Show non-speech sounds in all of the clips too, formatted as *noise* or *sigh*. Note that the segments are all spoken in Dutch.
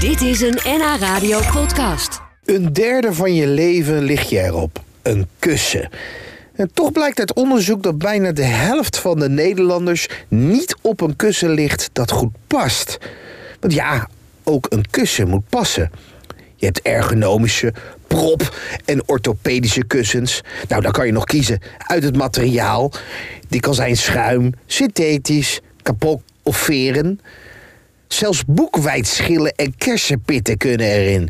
Dit is een NH Radio podcast. Een derde van je leven lig je erop. Een kussen. En toch blijkt uit onderzoek dat bijna de helft van de Nederlanders niet op een kussen ligt dat goed past. Want ja, ook een kussen moet passen. Je hebt ergonomische, prop en orthopedische kussens. Nou, dan kan je nog kiezen uit het materiaal. Die kan zijn schuim, synthetisch, kapot of veren. Zelfs boekwijdschillen en kersenpitten kunnen erin.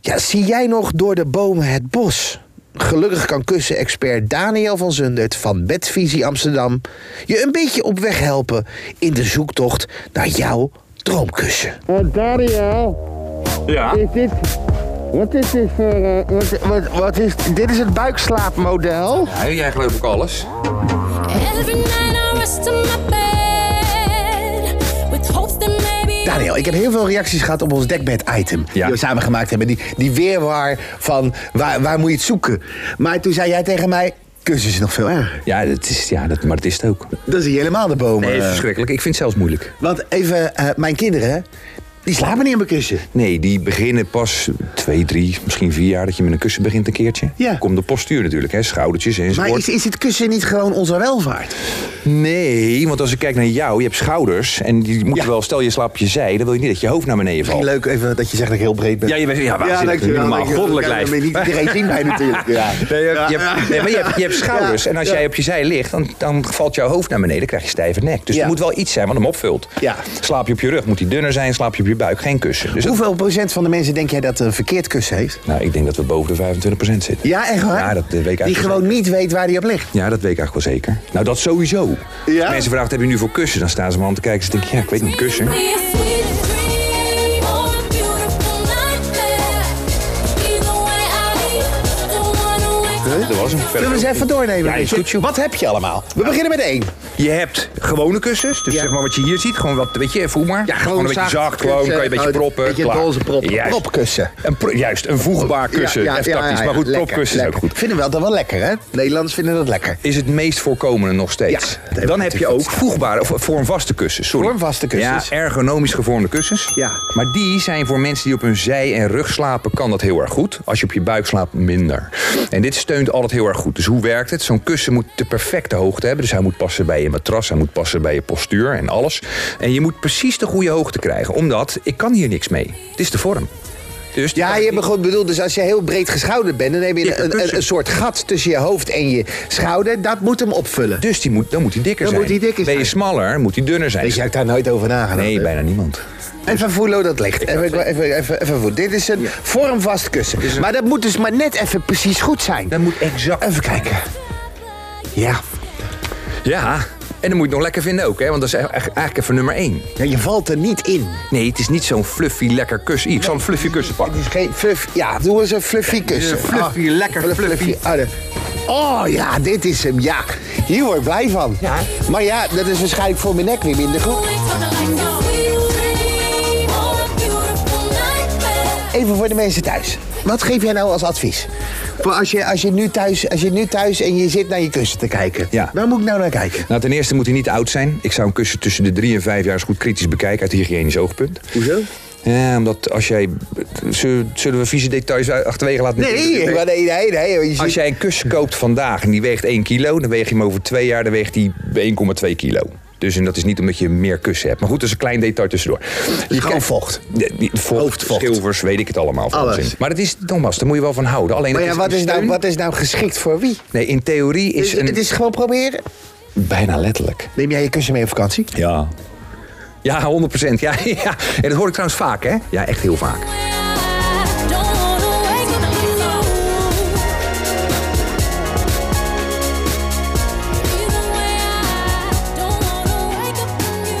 Ja, zie jij nog door de bomen het bos? Gelukkig kan kussen-expert Daniel van Zundert van Bedvisie Amsterdam je een beetje op weg helpen in de zoektocht naar jouw droomkussen. Eh, Daniel, Ja, is dit. Wat is dit voor. eh, wat, wat, wat is. Dit is het buikslaapmodel. hey, jij geloof ik alles. Every night I rest in my bed with hopes that maybe Daniel, ik heb heel veel reacties gehad op ons dekbed-item. Ja. Die we samen gemaakt hebben. Die, die weerwaar van waar, waar moet je het zoeken. Maar toen zei jij tegen mij, kussen is nog veel erger. Ja, het is, ja dat, maar het is het ook. Dan zie je helemaal de bomen. Nee, het is eh. verschrikkelijk. Ik vind het zelfs moeilijk. Want even, eh, mijn kinderen, die slapen niet op een kussen. Nee, die beginnen pas twee, drie, misschien vier jaar dat je met een kussen begint een keertje. Ja. Komt de postuur natuurlijk, hè, schoudertjes Maar enzovoort. is, is het kussen niet gewoon onze welvaart? Nee, want als ik kijk naar jou, je hebt schouders en die moeten Ja. wel, stel je slaapt op je zij, dan wil je niet dat je hoofd naar beneden valt. Misschien leuk even dat je zegt dat ik heel breed ben. Ja, je bent ja, waanzinnig. dankjewel, normaal dankjewel. goddelijk Ja, lijf. dat weet Niet *laughs* iedereen zien mij natuurlijk. Ja. Nee, je hebt, je hebt- nee, maar je hebt, je hebt schouders. Ja, en als jij op je zij ligt, dan, dan valt jouw hoofd naar beneden. Dan krijg je stijve nek. Dus Ja. er moet wel iets zijn wat hem opvult. Ja. Slaap je op je rug, moet die dunner zijn. Slaap je op je buik, geen kussen. Dus dat- Hoeveel procent van de mensen denk jij dat een verkeerd kussen heeft? nou, ik denk dat we boven de 25% zitten. Ja, echt waar? Ja, dat eh, weet ik eigenlijk Die wel gewoon niet weet waar die op ligt. Ja, dat weet ik eigenlijk wel zeker. Nou, dat sowieso. Als mensen vragen, wat heb je nu voor kussen? Dan staan ze maar aan te kijken. Ze denken, ja, ik weet niet, kussen. be a sweet dream or a beautiful nightmare. Either way, I don't wanna wake up. Dat was Zullen hem. we Verder- eens even doornemen? Ja, is goed, joh. Wat heb je allemaal? We beginnen met één. Je hebt gewone kussens. Dus Ja. zeg maar wat je hier ziet. Gewoon wat, weet je, voel maar. een beetje zacht. Gewoon, kan je een beetje proppen. Een Oh, beetje klaar. dolse prop. Juist. Propkussen. Een pro- juist, een voegbaar kussen. Ja, ja, Even ja, tactisch. ja, ja, maar goed, lekker, propkussen is ook lekker. goed. Vinden we dat wel lekker, hè? Nederlanders vinden dat lekker. Is het meest voorkomende nog steeds. Ja, dat Dan heb heb ik je ook natuurlijk. voegbare, of vormvaste kussens. Sorry. Vormvaste kussens. Ja, ergonomisch gevormde kussens. Ja. Maar die zijn voor mensen die op hun zij en rug slapen, kan dat heel erg goed. Als je op je buik slaapt, minder. En dit steunt altijd heel erg goed. Dus hoe werkt het? Zo'n kussen moet de perfecte hoogte hebben. Dus hij moet passen bij je matras, hij moet passen bij je postuur en alles. En je moet precies de goede hoogte krijgen. Omdat, ik kan hier niks mee. Het is de vorm. Dus Ja, je begon bedoeld, dus als je heel breed geschouderd bent, dan heb je Dikke een, een, kussen. een soort gat tussen je hoofd en je schouder. Dat moet hem opvullen. Dus die moet, dan moet hij dikker Dan zijn. moet die dikker Ben je zijn. smaller, moet hij dunner zijn. Weet Dus je, ik daar nooit over nagedacht. Nee, heb. bijna niemand. Even voelen hoe dat ligt. Even, even, even, even, voelen. Dit is een vormvast kussen. Maar dat moet dus maar net even precies goed zijn. Dat moet exact. Even kijken. Ja. Ja. En dan moet je het nog lekker vinden ook, hè? Want dat is eigenlijk- eigenlijk even nummer één. ja, je valt er niet in. Nee, het is niet zo'n fluffy lekker kussen. Hier, Ik zal een fluffy kussen Het pakken. is geen fluff. Ja, doe eens een fluffy kussen. Eh, fluffy, lekker fluffy. Ah, de- Oh ja, dit is hem. Ja, hier word ik blij van. Ja. Maar ja, dat is waarschijnlijk voor mijn nek weer minder goed. Wake up like a sweet dream or a beautiful nightmare. Even voor de mensen thuis. Wat geef jij nou als advies? Voor Als je, als, je nu thuis, als je nu thuis en je zit naar je kussen te kijken. Ja. Waar moet ik nou naar kijken? Nou, ten eerste moet hij niet oud zijn. Ik zou een kussen tussen de drie en vijf jaar eens goed kritisch bekijken uit hygiënisch oogpunt. Hoezo? Ja, omdat als jij. Zullen zullen we vieze details achterwege laten? Nee, maar nee, nee. nee. want je Als zit- jij een kussen koopt vandaag en die weegt 1 kilo, dan weeg je hem over twee jaar, dan weegt hij 1,2 kilo. Dus en dat is niet omdat je meer kussen hebt. Maar goed, dat is een klein detail tussendoor. Je gewoon kijkt- vocht. Ja, die- vocht, Hoofdvocht. schilvers, weet ik het allemaal. van Alles. zin. Maar dat is, nogmaals, daar moet je wel van houden. Alleen Maar het ja, is wat een is, nou, steun. wat is nou geschikt voor wie? Nee, in theorie is Dus een... Het is gewoon proberen. bijna letterlijk. Neem jij je kussen mee op vakantie? Ja. Ja, 100 Ja, *laughs* ja. En dat hoor ik trouwens vaak, hè? Ja, echt heel vaak. I don't wanna wake up alone. Either way, I don't wanna wake up from you.